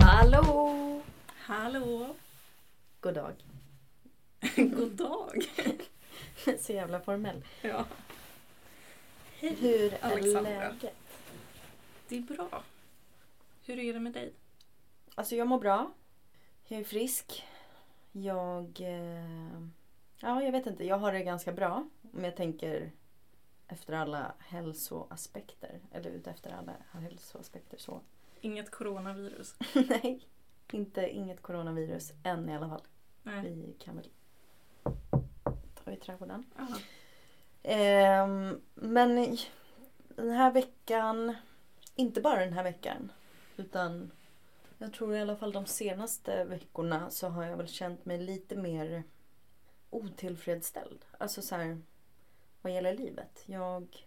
Hallå! God dag. God dag! Så jävla formell. Ja. Hej! Hur är Alexandra. läget? Det är bra. Hur är det med dig? Alltså jag mår bra. Jag är frisk. Jag... Eh, ja, jag vet inte. Jag har det ganska bra. Om jag tänker efter alla hälsoaspekter. Eller utefter alla hälsoaspekter så. Inget coronavirus? Nej. Inte, inget coronavirus än i alla fall. Nej. Vi kan väl ta i trädgården. Ja. Ehm, men i- den här veckan, inte bara den här veckan, utan jag tror i alla fall de senaste veckorna så har jag väl känt mig lite mer otillfredsställd. Alltså så här, vad gäller livet. Jag,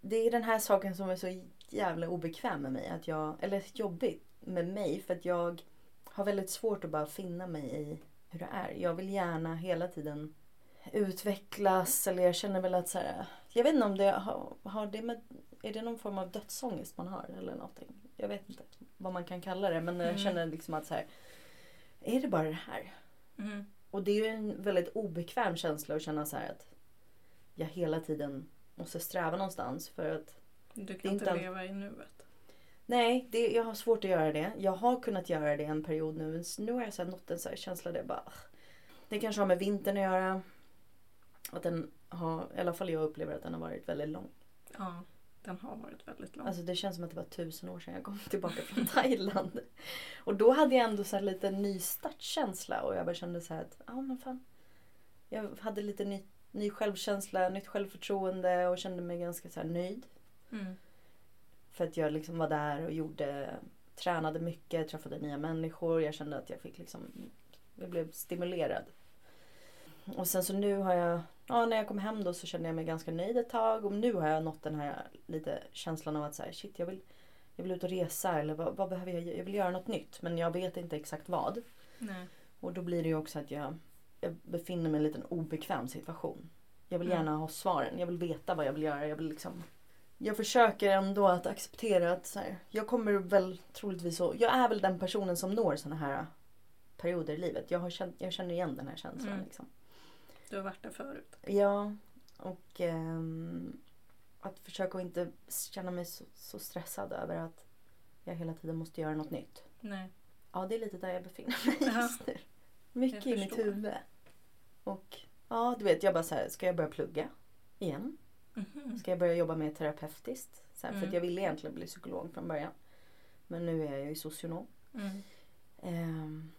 det är den här saken som är så jävla obekväm med mig. Att jag, eller jobbig med mig för att jag har väldigt svårt att bara finna mig i hur det är. Jag vill gärna hela tiden utvecklas eller jag känner väl att så här, jag vet inte om det har, har det med, är det någon form av dödsångest man har eller någonting? Jag vet inte vad man kan kalla det men Mm. jag känner liksom att så här, är det bara det här? Mm. Och det är ju en väldigt obekväm känsla att känna så här att jag hela tiden måste sträva någonstans för att Du Det är kan inte inte all- leva i nuet. nej, det, jag har svårt att göra det. Jag har kunnat göra det en period nu men nu har jag så här nått en så här känsla där jag bara "Ugh." det kanske har med vintern att göra. Att den har, i alla fall jag upplever att den har varit väldigt lång. Ja, den har varit väldigt lång. Alltså det känns som att det var tusen år sedan jag kom tillbaka från Thailand. Och då hade jag ändå så här lite nystartskänsla och jag bara kände så här att, ja men fan. Jag hade lite ny, ny självkänsla, nytt självförtroende och kände mig ganska så här nöjd. Mm. För att jag liksom var där och gjorde, tränade mycket, träffade nya människor. Jag kände att jag fick liksom, jag blev stimulerad. Och sen så nu har jag, ja när jag kom hem då så kände jag mig ganska nöjd ett tag. Och nu har jag nått den här lite känslan av att så här, shit jag vill, jag vill ut och resa eller vad, vad behöver jag, jag vill göra något nytt. Men jag vet inte exakt vad. Nej. Och då blir det ju också att jag, jag befinner mig i en liten obekväm situation. Jag vill gärna ha svaren. Jag vill veta vad jag vill göra. Jag vill liksom... Jag försöker ändå att acceptera att så här, jag kommer väl troligtvis att... Jag är väl den personen som når såna här perioder i livet. Jag, har känt, jag känner igen den här känslan. Mm. Liksom. Du har varit där förut. Ja, och ehm, att försöka att inte känna mig så, så stressad över att jag hela tiden måste göra något nytt. Nej. Ja, det är lite där jag befinner mig Ja. just nu. Mycket Jag i mitt förstår. huvud. Och ja, du vet, jag bara så här, ska jag börja plugga igen? Mhm. Ska jag börja jobba mer terapeutiskt? Så här, För Mm. att jag ville egentligen bli psykolog från början. Men nu är jag ju socionom. Mm. Ehm,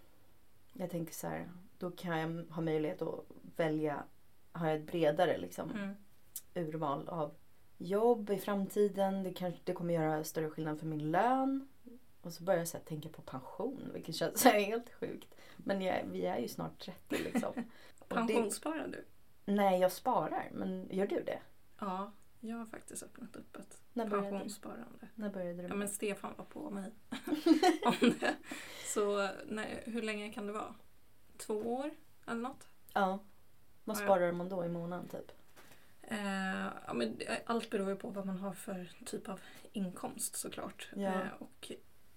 jag tänker så här, då kan jag ha möjlighet att välja, har jag ett bredare liksom, Mm. urval av jobb i framtiden. Det, kanske, det kommer göra större skillnad för min lön. Och så börjar jag så här tänka på pension, vilket känns så här helt sjukt. Men jag, vi är ju snart 30 liksom. Och det, Pensionssparar du? nej, jag sparar. Men gör du det? Ja, jag har faktiskt öppnat upp ett När började du? pensionssparande. När började du? Ja, med men det? Stefan var på mig om det. Så nej, hur länge kan det vara? Två år eller något? ja. Vad Ja. sparar man då i månaden typ? Eh, ja, men det- allt beror ju på vad man har för typ av inkomst såklart. Ja. Eh, och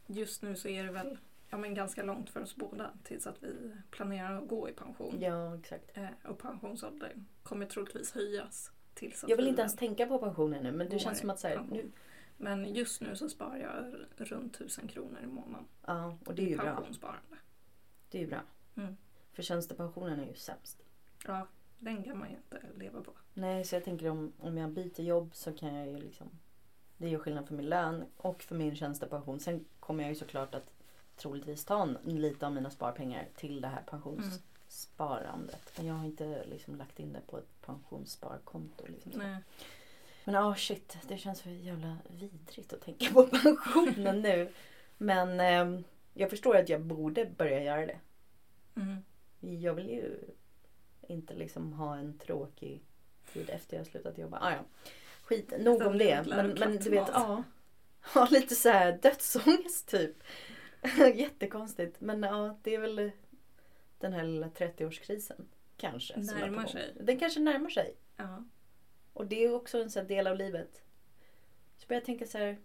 just nu så är det väl ja, men ganska långt för oss båda tills att vi planerar att gå i pension. Ja, exakt. Eh, och pensionsåldern kommer troligtvis höjas. Tills att Jag vill vi inte väl- ens tänka på pensionen nu, men det Går känns i som att så här, pension. nu... Men just nu så sparar jag r- runt 1000 kronor i månaden. Ja, och det är ju bra. Pensionssparande. Det är ju bra. Mm. För tjänstepensionen är ju sämst. Ja, den kan man ju inte leva på. Nej, så jag tänker om, om jag byter jobb så kan jag ju liksom... Det gör skillnad för min lön och för min tjänstepension. Sen kommer jag ju såklart att troligtvis ta en, lite av mina sparpengar till det här Mm. pensionssparandet. Men jag har inte liksom lagt in det på ett pensionssparkonto. Liksom. Nej. Men ja, shit. Det känns så jävla vidrigt att tänka på pensionen nu. Men ehm, jag förstår att jag borde börja göra det. Mm. Jag vill ju inte liksom ha en tråkig tid efter jag har slutat jobba. Ah, ja. Skit, nog om det. jävla Men, men du vet, kattmat. ja. Ha lite så här dödsångest typ. Jättekonstigt. Men ja, det är väl den här lilla 30-årskrisen. Kanske. som är på Närmar gång. sig. Den kanske närmar sig. Ja. Och det är också en sån här del av livet. Så börjar jag tänka så här.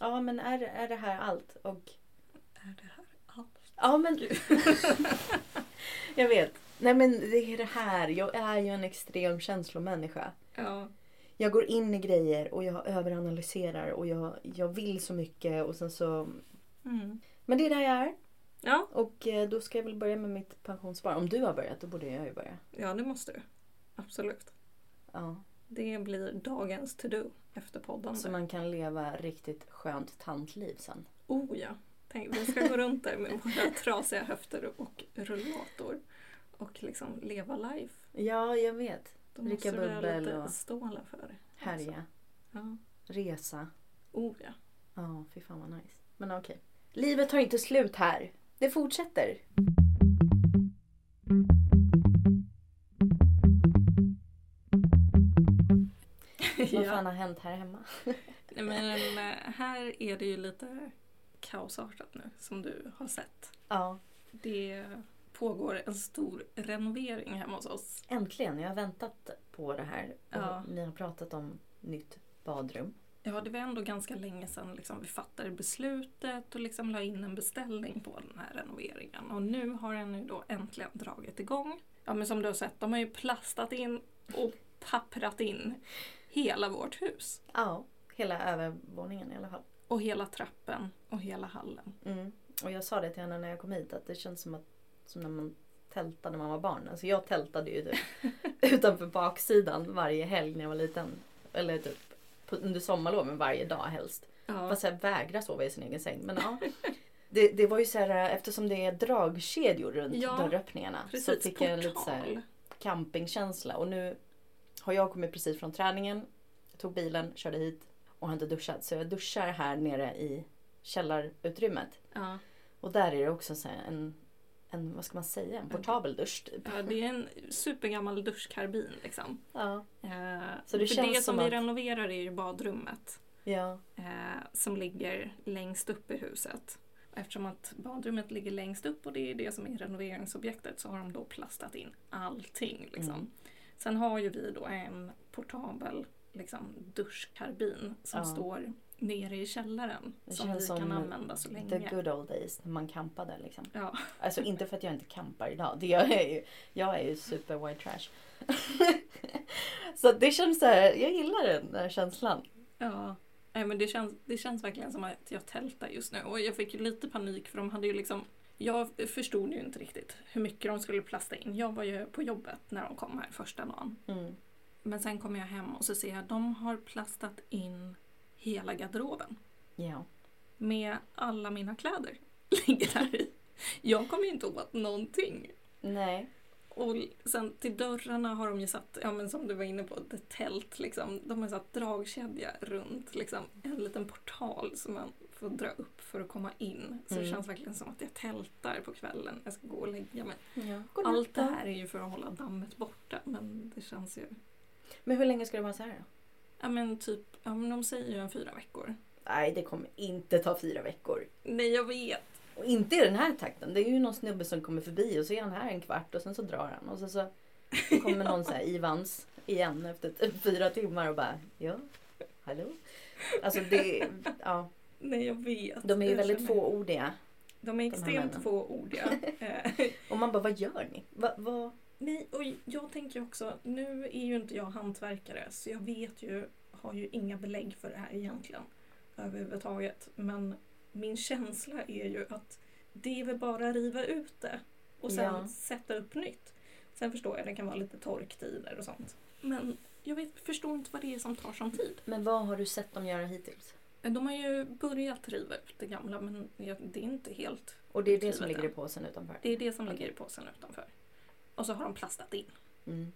Ja men är, är det här allt? Och Är det här allt? Ja men... jag vet. Nej men det är det här. Jag är ju en extrem känslomänniska. Ja. Jag går in i grejer och jag överanalyserar och jag, jag vill så mycket och sen så... Mm. Men det är där jag är. Ja. Och eh, då ska jag väl börja med mitt pensionssparande. Om du har börjat då borde jag ju börja. ja, det måste du. Absolut. Ja. Det blir dagens to-do efter podden. Så man kan leva riktigt skönt tantliv sen. Oh ja. Tänk, vi ska gå runt där med våra trasiga höfter och rullator och liksom leva life. Ja, jag vet. Då Dricka måste du ha bubbel lite och- stålar för det. Härja. Ja. Alltså. Resa. Oh ja. Ja, fy fan vad nice. Men okej. Livet tar inte slut här. Det fortsätter. Vad fan har hänt här hemma? Nej, Men eh, här är det ju lite kaosartat nu som du har sett. Ja, Det pågår en stor renovering hemma hos oss. äntligen. Jag har väntat på det här. Och Ja. Ni har pratat om nytt badrum. Ja, det var ändå ganska länge sedan liksom, vi fattade beslutet och liksom la in en beställning på den här renoveringen. Och nu har den ju då äntligen dragit igång. Ja, men som du har sett, de har ju plastat in och papprat in hela vårt hus. Ja, hela övervåningen i alla fall. Och hela trappen och hela hallen. Mm. Och jag sa det till henne när jag kom hit att det känns som, att, som när man tältade när man var barn. Alltså jag tältade ju typ utanför baksidan varje helg när jag var liten. Eller typ på, under sommarloven varje dag helst. Ja, Fast jag vägrar sova i sin egen säng. Men ja. Det, det var ju så här eftersom det är dragkedjor runt Ja, dörröppningarna. så precis. fick jag en lite så här Portal. campingkänsla. Och nu har jag kommit precis från träningen. Tog bilen, körde hit och har inte duschat. Så jag duschar här nere i källarutrymmet. Ja. Och där är det också så här en, en, vad ska man säga, en portabel dusch typ. Ja, det är en supergammal duschkarbin liksom. Ja. Eh, Så det för känns det som, som vi att- renoverar är ju badrummet Ja. eh, som ligger längst upp i huset. Och Eftersom att badrummet ligger längst upp och det är det som är renoveringsobjektet så har de då plastat in allting. Liksom. Mm. Sen har ju vi då en portabel liksom, duschkarbin som Ja. står nere i källaren Det som känns vi som kan använda så The länge. good old days när man campade liksom. Ja. Alltså inte för att jag inte campar idag. Det gör jag ju. Jag är ju super white trash. så att det känns så här, jag gillar den där känslan. Ja, nej, men det känns, det känns verkligen som att jag tältar just nu. Och jag fick ju lite panik för de hade ju liksom... Jag förstod ju inte riktigt hur mycket de skulle plasta in. Jag var ju på jobbet när de kom här första dagen. Mm. Men sen kom jag hem och så ser jag att de har plastat in hela garderoben. Ja. Med alla mina kläder ligger där i. Jag kommer ju inte åt någonting. Nej. Och sen till dörrarna har de ju satt, ja men som du var inne på, ett tält liksom. De har satt dragkedja runt liksom. En liten portal som man får dra upp för att komma in. Så det Mm. känns verkligen som att jag tältar på kvällen. Jag ska gå och lägga mig. Ja. Allt det här är ju för att hålla dammet borta. Men det känns ju... Men hur länge ska det vara så här då? Ja men typ, ja men de säger ju en fyra veckor. Nej, det kommer inte ta fyra veckor. Nej jag vet. Och inte i den här takten. Det är ju någon snubbe som kommer förbi och så är han här en kvart och sen så drar han. Och sen så kommer någon så här Ivans igen efter typ fyra timmar och bara ja, hallå. Alltså det, ja, Nej jag vet. de är ju Jag väldigt känner- fåordiga. De är här extremt männen. fåordiga. Eh, Och man bara, vad gör ni? Va, va? Nej, och jag tänker också, nu är ju inte jag hantverkare så jag vet ju, har ju inga belägg för det här egentligen överhuvudtaget. Men min känsla är ju att det är väl bara att riva ut det och sen Ja. sätta upp nytt. Sen förstår jag, det kan vara lite torktider och sånt. Men jag vet, förstår inte vad det är som tar sån tid. Men vad har du sett dem göra hittills? De har ju börjat riva ut det gamla men jag- det är inte helt... Och det är det som ligger i påsen utanför? Det är det som ligger i påsen utanför. Och så har de plastat in. Mm.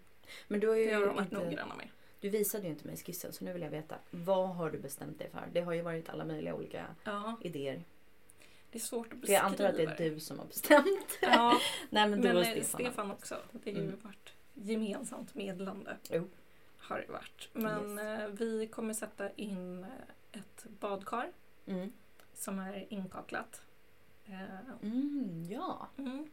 Men du har ju Det har de varit inte, noggranna med. du visade ju inte mig skissen så nu vill jag veta. Vad har du bestämt dig för? Det har ju varit alla möjliga olika Ja. idéer. Det är svårt att För beskriva. jag antar att det är du som har bestämt. Ja, Nej men men du och eh, Stefan. har- Stefan också. Det har ju Mm. varit gemensamt medlande. Jo. Har det varit. Men eh, vi kommer sätta in eh, ett badkar Mm. som är inkaklat. Eh, Mm, ja. Mm.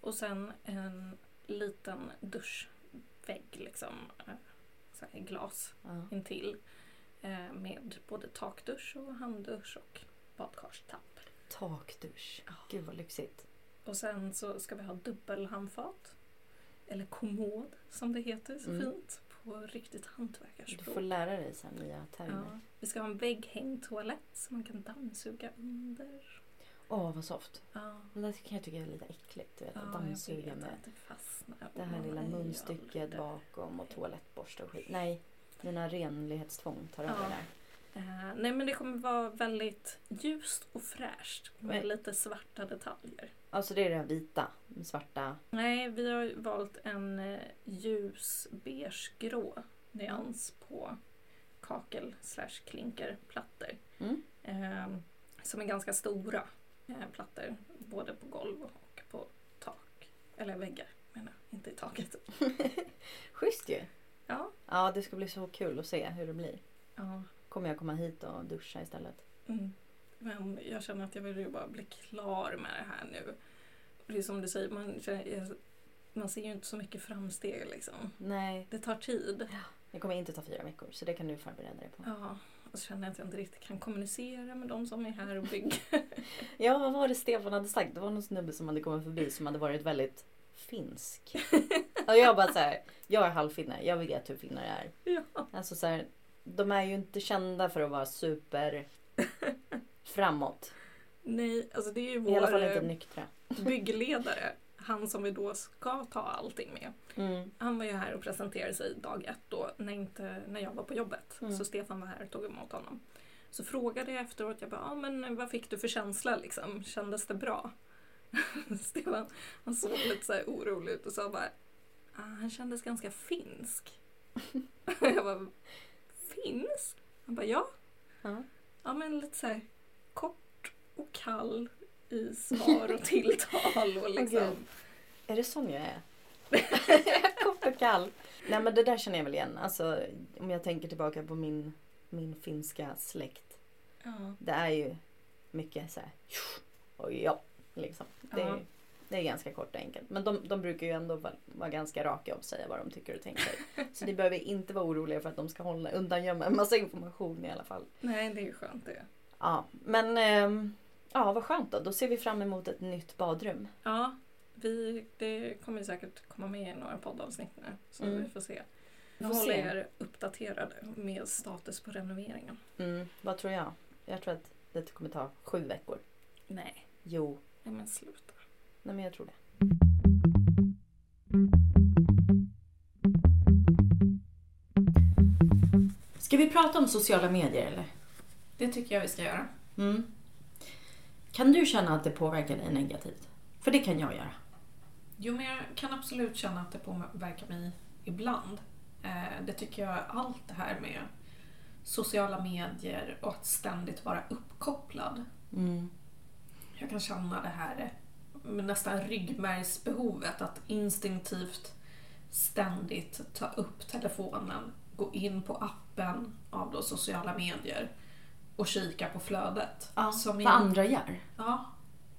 Och sen en liten duschvägg liksom. eh, Så här i glas ja. intill. eh, Med både takdusch och handdusch och badkarstapp. Takdusch. Gud vad lyxigt. Och sen så ska vi ha dubbelhandfat. Eller kommod som det heter så Mm. fint på riktigt Du hantverkarspråk. får lära dig så här nya termer. ja. Vi ska ha en vägghängd toalett som man kan dammsuga under. Åh vad soft. Ja. Men det kan jag tycka är lite äckligt. Du vet, att Ja, dammsuga jag vet med att det fastnar. det här Man lilla är ju munstycket aldrig- bakom och toalettborste och skit. Nej, mina renlighetstvång tar Ja. över där. Eh, nej men det kommer vara väldigt ljust och fräscht med Men- lite svarta detaljer. Alltså det är det här vita, den svarta. Nej, vi har ju valt en eh, ljus beigegrå nyans på kakel slash klinkerplattor. Mm. Eh, som är ganska stora eh, plattor, både på golv och på tak. Eller väggar menar jag, inte i taket. Schysst ju. Ja, Ja, det ska bli så kul att se hur det blir. ja. Kommer jag komma hit och duscha istället? Mm. Men jag känner att jag vill ju bara bli klar med det här nu. Och Det är som du säger, man, känner- man ser ju inte så mycket framsteg liksom. Nej, Det tar tid. det kommer inte ta fyra veckor så det kan du förbereda dig på. Ja, och så känner jag att jag inte riktigt kan kommunicera med de som är här och bygger. Ja, vad var det Stefan hade sagt? Det var någon snubbe som hade kommit förbi som hade varit väldigt finsk. Och jag bara så här, jag är halvfinne, jag vet hur finnar är. Ja. Alltså så här, de är ju inte kända för att vara super framåt. Nej, alltså det är ju I alla fall vår inte eh, nyktra. byggledare, han som vi då ska ta allting med. Mm. Han var ju här och presenterade sig dag ett då när, inte, när jag var på jobbet. Mm. Så Stefan var här och tog emot honom. Så frågade jag efteråt, jag bara, ah, men vad fick du för känsla liksom? Kändes det bra? Stefan, han såg lite så här orolig ut och sa bara, ah, han kändes ganska finsk. jag bara, finsk? Han bara, ja. Ja. Ja men lite så här kort och kall i svar och tilltal och liksom. Åh, gud. Är det sån jag är? Kort och kall. Nej men det där känner jag väl igen. Alltså om jag tänker tillbaka på min, min finska släkt. Ja. Det är ju mycket så här. Och ja, liksom. Det är, Ja. det är ganska kort och enkelt. Men de, de brukar ju ändå vara, vara ganska raka och säga vad de tycker och tänker. Så ni behöver inte vara oroliga för att de ska hålla, undangömma en massa information i alla fall. Nej det är ju skönt det. Ja, men ehm, ja, vad skönt då. Då ser vi fram emot ett nytt badrum. Ja, vi, det kommer ju säkert komma med i några poddavsnitt nu. Så Mm. vi får se. Vi Jag får håller se. er uppdaterade med status på renoveringen. Mm, vad tror jag? Jag tror att det kommer ta sju veckor. Nej, Jo, nej men sluta. nej men jag tror det. Ska vi prata om sociala medier eller? Det tycker jag vi ska göra. Mm. Kan du känna att det påverkar dig negativt? För det kan jag göra. Jo, men jag kan absolut känna att det påverkar mig ibland. Eh, Det tycker jag allt det här med sociala medier och att ständigt vara uppkopplad. Mm. Jag kan känna det här med nästan ryggmärgsbehovet att instinktivt ständigt ta upp telefonen, gå in på appen av då sociala medier och kika på flödet. Ja, Som vad jag- andra gör. ja,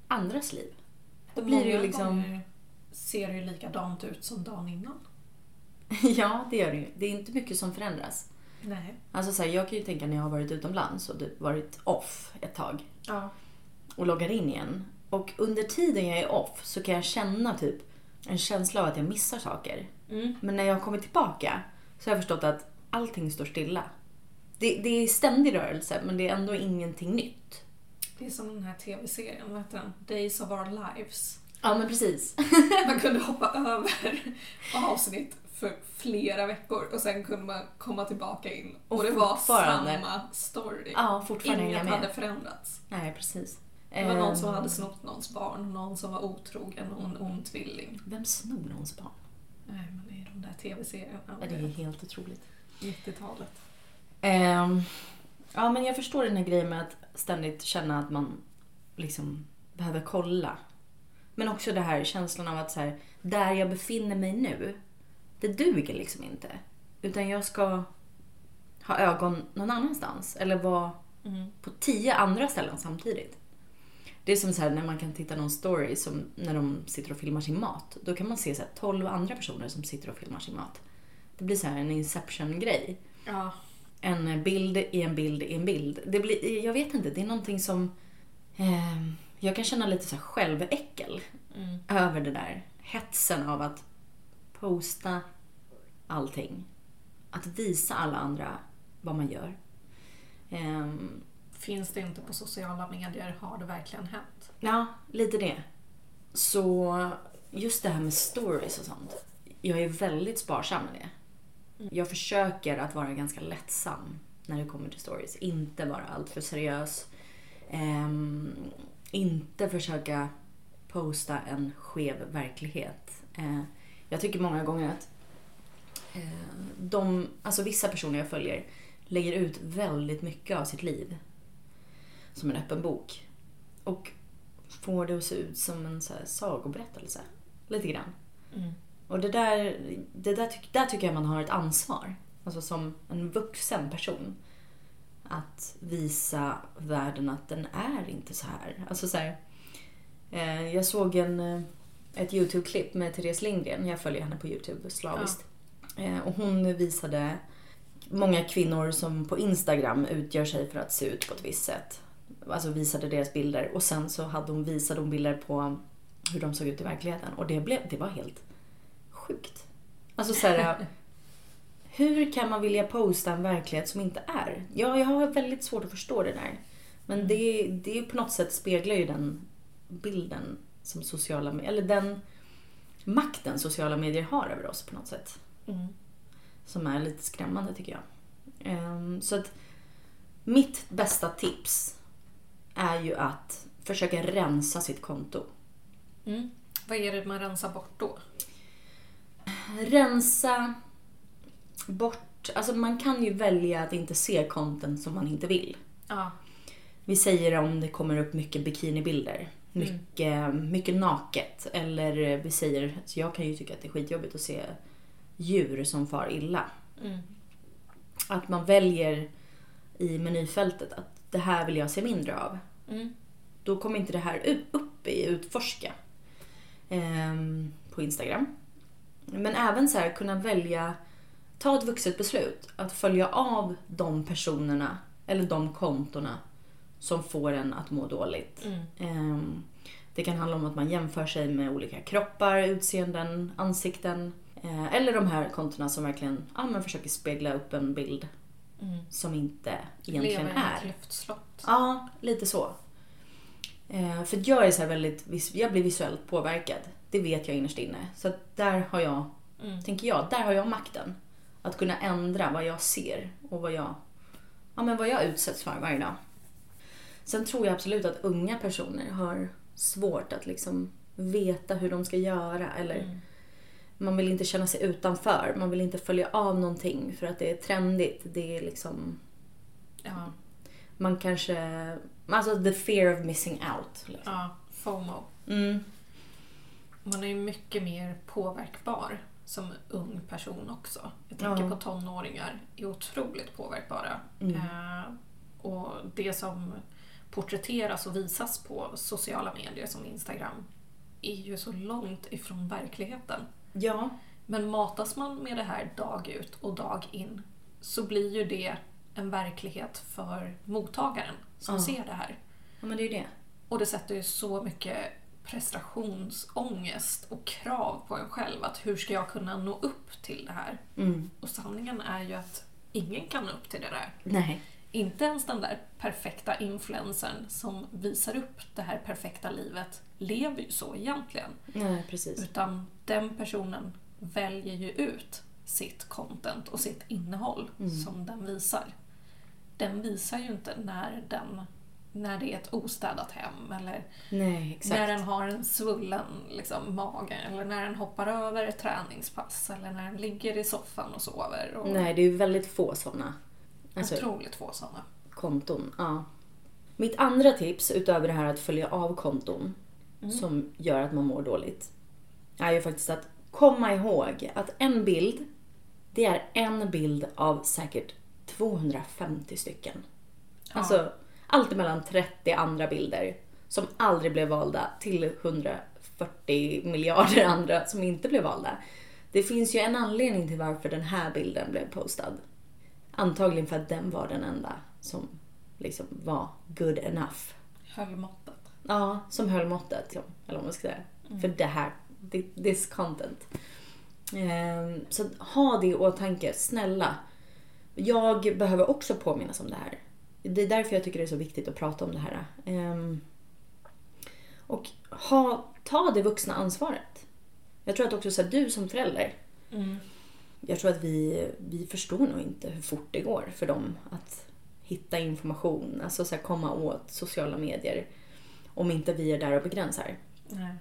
Andras liv. Då och blir det ju många liksom... gånger ser det ju likadant ut som dagen innan. ja, det gör det ju. Det är inte mycket som förändras. Nej. Alltså så här, jag kan ju tänka när jag har varit utomlands och du- varit off ett tag Ja. och loggar in igen. Och under tiden jag är off så kan jag känna typ en känsla av att jag missar saker. Mm. Men när jag kommer tillbaka så har jag förstått att allting står stilla. Det, det är ständig rörelse men det är ändå ingenting nytt. Det är som den här tv-serien, vad heter den? Days of our lives. Ja men precis. Man kunde hoppa över avsnitt för flera veckor och sen kunde man komma tillbaka in och, Och det var fortfarande- samma story. Ja, fortfarande Inget hänga med. hade förändrats. Nej precis. Det var någon som Ehm, Mm. hade snott någons barn, någon som var otrogen och en ond tvilling. Vem snor någons barn? Nej, men det är de där tv-serierna. Ja, det är ju helt otroligt. 90-talet. Ehm, ja, men jag förstår den här grejen med att ständigt känna att man liksom behöver kolla. Men också det här känslan av att så här, där jag befinner mig nu, det duger liksom inte. Utan jag ska ha ögon någon annanstans eller vara på tio andra ställen samtidigt. Det är som så här när man kan titta någon story som när de sitter och filmar sin mat. Då kan man se så här, 12 andra personer som sitter och filmar sin mat. Det blir så här en inception-grej Ja. en bild i en bild i en bild. Det blir, jag vet inte, det är någonting som... Eh, jag kan känna lite så här själväckel över det där. Hetsen av att posta allting. Att visa alla andra vad man gör. Ehm, Finns det inte på sociala medier? Har det verkligen hänt? Ja, lite det. Så just det här med stories och sånt. Jag är väldigt sparsam med det. Jag försöker att vara ganska lättsam när det kommer till stories. Inte vara alltför seriös. Ehm, inte försöka posta en skev verklighet. Eh, jag tycker många gånger att eh, de, alltså vissa personer jag följer lägger ut väldigt mycket av sitt liv som en öppen bok och får det att se ut som en så här sagoberättelse. Lite grann. Mm. Och det där, det där, tyck- där tycker jag man har ett ansvar. Alltså som en vuxen person. Att visa världen att den är inte så här. Alltså så här eh, jag såg en, eh, ett YouTube-klipp med Therese Lindgren. Jag följer henne på YouTube slaviskt. Eh, och hon visade många kvinnor som på Instagram utgör sig för att se ut på ett visst sätt. Alltså visade deras bilder och sen så hade hon, visade hon bilder på hur de såg ut i verkligheten och det, blev, det var helt sjukt. Alltså så här, hur kan man vilja posta en verklighet som inte är? Ja, jag har väldigt svårt att förstå det där. Men det, det är på något sätt speglar ju den bilden som sociala med- eller den makten sociala medier har över oss på något sätt Mm. som är lite skrämmande tycker jag. Ehm, Så att mitt bästa tips är ju att försöka rensa sitt konto. Mm. Vad är det man rensar bort då? Rensa bort, alltså man kan ju välja att inte se content som man inte vill. Ja. Vi säger om det kommer upp mycket bikinibilder, mycket, mycket naket. Eller vi säger, så jag kan ju tycka att det är skitjobbigt att se djur som far illa. Mm. Att man väljer i menyfältet att det här vill jag se mindre av. Då kommer inte det här u- upp i utforska ehm, på Instagram. Men även så här kunna välja, ta ett vuxet beslut att följa av de personerna eller de kontona som får en att må dåligt. Mm, Ehm, Det kan handla om att man jämför sig med olika kroppar, utseenden, ansikten. Eh, Eller de här kontona som verkligen ja, men försöker spegla upp en bild som inte egentligen Lever mm. i ett är. luftslott. Ja, lite så. Eh, För att jag är så här väldigt, vis- jag blir visuellt påverkad. Det vet jag innerst inne. Så att där har jag, Mm. tänker jag, där har jag makten. Att kunna ändra vad jag ser och vad jag, ja, men vad jag utsätts för varje dag. Sen tror jag absolut att unga personer har svårt att liksom veta hur de ska göra. Eller Mm. Man vill inte känna sig utanför. Man vill inte följa av någonting för att det är trendigt. Det är liksom Ja. man kanske... Alltså the fear of missing out. Liksom. ja. FOMO. Mm. Man är ju mycket mer påverkbar som ung person också. Jag tänker Ja. på tonåringar, är otroligt påverkbara. Mm. Eh, och det som porträtteras och visas på sociala medier som Instagram är ju så långt ifrån verkligheten. Ja. Men matas man med det här dag ut och dag in så blir ju det en verklighet för mottagaren som Ja. ser det här. ja, men det är ju det. Och det sätter ju så mycket prestationsångest och krav på en själv. Att hur ska jag kunna nå upp till det här? Mm. Och sanningen är ju att ingen kan nå upp till det där. Nej. Inte ens den där perfekta influencern som visar upp det här perfekta livet lever ju så egentligen. Nej, precis. Utan den personen väljer ju ut sitt content och sitt innehåll Mm. som den visar. Den visar ju inte när, den, när det är ett ostädat hem eller Nej, när exakt. den har en svullen liksom, mage eller när den hoppar över ett träningspass eller när den ligger i soffan och sover. Och Nej, det är ju väldigt få sådana alltså, Otroligt få sådana. konton. Ja. Mitt andra tips, utöver det här att följa av konton som gör att man mår dåligt, är ju faktiskt att komma ihåg att en bild, det är en bild av säkert 250 stycken. Alltså allt mellan 30 andra bilder som aldrig blev valda till 140 miljarder andra som inte blev valda. Det finns ju en anledning till varför den här bilden blev postad. Antagligen för att den var den enda som liksom var good enough. Höll måttet. Ja, som höll måttet. ja, Eller vad man ska säga. för det här, thi- this content. Ehm, Så ha det i åtanke, snälla. Jag behöver också påminnas om det här. Det är därför jag tycker det är så viktigt att prata om det här. Ehm, Och ha, ta det vuxna ansvaret. Jag tror att också så här, du som förälder, jag tror att vi, vi förstår nog inte hur fort det går för dem att hitta information, alltså så här, komma åt sociala medier om inte vi är där och begränsar. Nej.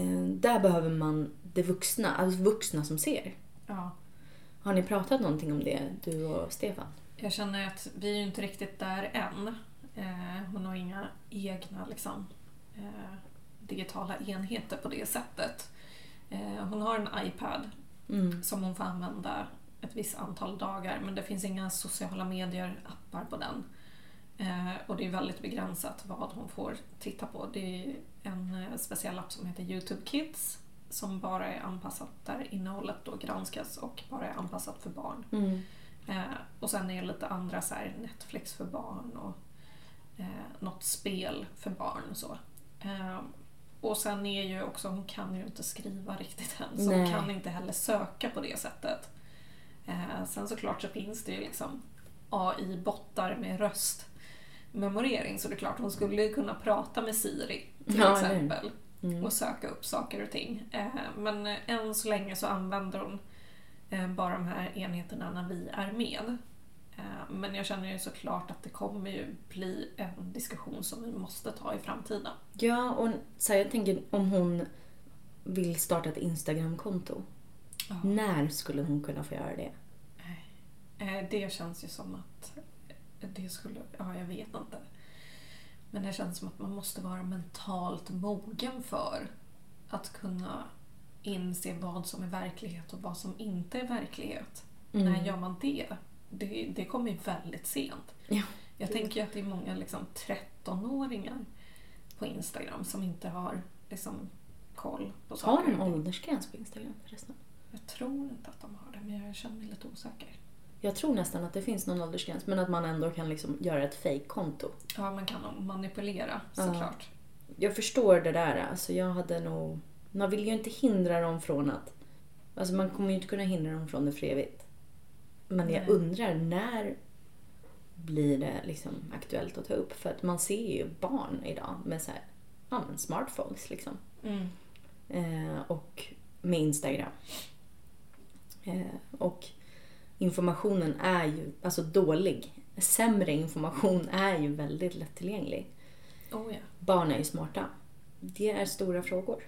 Eh, där behöver man det vuxna, alltså vuxna som ser. Ja. Har ni pratat någonting om det, du och Stefan? Jag känner att vi är ju inte riktigt där än. Eh, hon har inga egna liksom, eh, digitala enheter på det sättet. Eh, hon har en iPad Mm. som hon får använda ett visst antal dagar men det finns inga sociala medier-appar på den. Eh, och det är väldigt begränsat vad hon får titta på. Det är en eh, speciell app som heter Youtube Kids som bara är anpassat där innehållet då granskas och bara är anpassat för barn. Mm. Eh, och sen är det lite andra så här Netflix för barn och eh, något spel för barn och så. Eh, och sen är ju också, hon kan ju inte skriva riktigt än så hon Nej. kan inte heller söka på det sättet. Eh, sen såklart så finns det ju liksom AI-bottar med röstmemorering så det är klart hon skulle ju kunna prata med Siri till Ja, eller hur. exempel Mm. och söka upp saker och ting. Eh, Men eh, än så länge så använder hon eh, bara de här enheterna när vi är med. Eh, Men jag känner ju såklart att det kommer ju bli en diskussion som vi måste ta i framtiden. Ja, och så här, jag tänker om hon vill starta ett Instagram-konto. Ja. När skulle hon kunna få göra det? Eh, Det känns ju som att eh, det skulle, ja jag vet inte. Men det känns som att man måste vara mentalt mogen för att kunna inse vad som är verklighet och vad som inte är verklighet. Mm. När gör man det? Det, det kommer ju väldigt sent. Ja. Jag tänker ju att det är många liksom 13-åringar på Instagram som inte har liksom, koll på Har saker. en åldersgräns på Instagram förresten? Jag tror inte att de har det, men jag känner mig lite osäker. Jag tror nästan att det finns någon åldersgräns, men att man ändå kan liksom göra ett fake-konto. Ja, man kan nog manipulera Ja. såklart. Jag förstår det där. Alltså jag hade nog... Man vill ju inte hindra dem från att... Alltså man kommer ju inte kunna hindra dem från det för evigt. Men jag Nej. undrar när blir det liksom aktuellt att ta upp? För att man ser ju barn idag med så här, ja, men smartphones liksom. Mm. Eh, och med Instagram. Eh, och informationen är ju, alltså dålig, sämre information är ju väldigt lättillgänglig. Oh, ja. Barn är ju smarta. Det är stora frågor.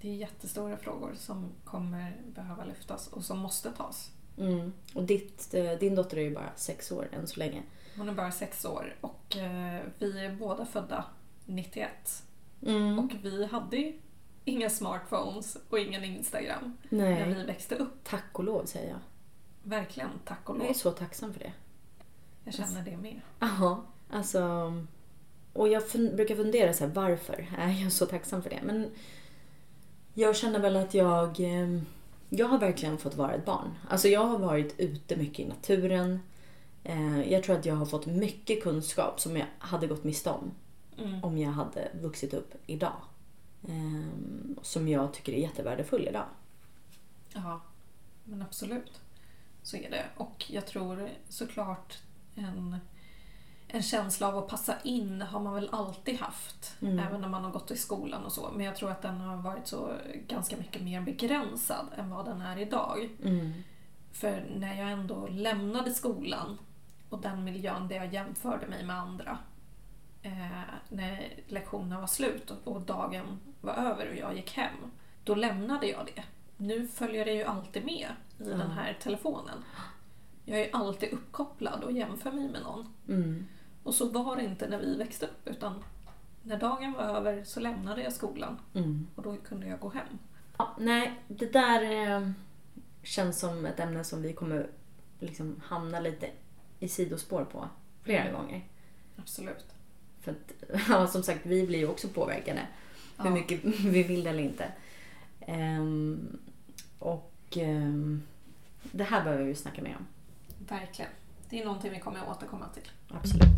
Det är jättestora frågor som kommer behöva lyftas och som måste tas. Mm. Och ditt, eh, din dotter är ju bara sex år än så länge. Hon är bara sex år och eh, vi är båda födda 91. Mm. Och vi hade ju inga smartphones och ingen Instagram. när Nej. vi växte upp. Tack och lov säger jag. Verkligen, tack och Jag är lov. så tacksam för det. Jag känner det med. Jaha, alltså... Och jag fun- brukar fundera så här, varför är jag så tacksam för det? Men jag känner väl att jag... eh, Jag har verkligen fått vara ett barn. Alltså jag har varit ute mycket i naturen. Eh, Jag tror att jag har fått mycket kunskap som jag hade gått miste om Mm. om jag hade vuxit upp idag. Ehm, Som jag tycker är jättevärdefull idag. Ja, men absolut. Så är det. Och jag tror såklart en, en känsla av att passa in har man väl alltid haft. Mm. Även när man har gått i skolan och så. Men jag tror att den har varit så ganska mycket mer begränsad än vad den är idag. För när jag ändå lämnade skolan och den miljön där jag jämförde mig med andra. Eh, när lektionerna var slut och, och dagen var över och jag gick hem. Då lämnade jag det. Nu följer det ju alltid med i Ja. den här telefonen. Jag är alltid uppkopplad och jämför mig med någon. Mm. Och så var det inte när vi växte upp utan när dagen var över så lämnade jag skolan Mm. och då kunde jag gå hem. Ja, nej, det där eh, känns som ett ämne som vi kommer liksom hamna lite i sidospår på flera gånger. Absolut. För att, ja, som sagt, vi blir ju också påverkade. Hur Ja. mycket vi vill eller inte. Ehm, och ehm, det här behöver vi ju snacka mer om. Verkligen. Det är någonting vi kommer att återkomma till. Absolut.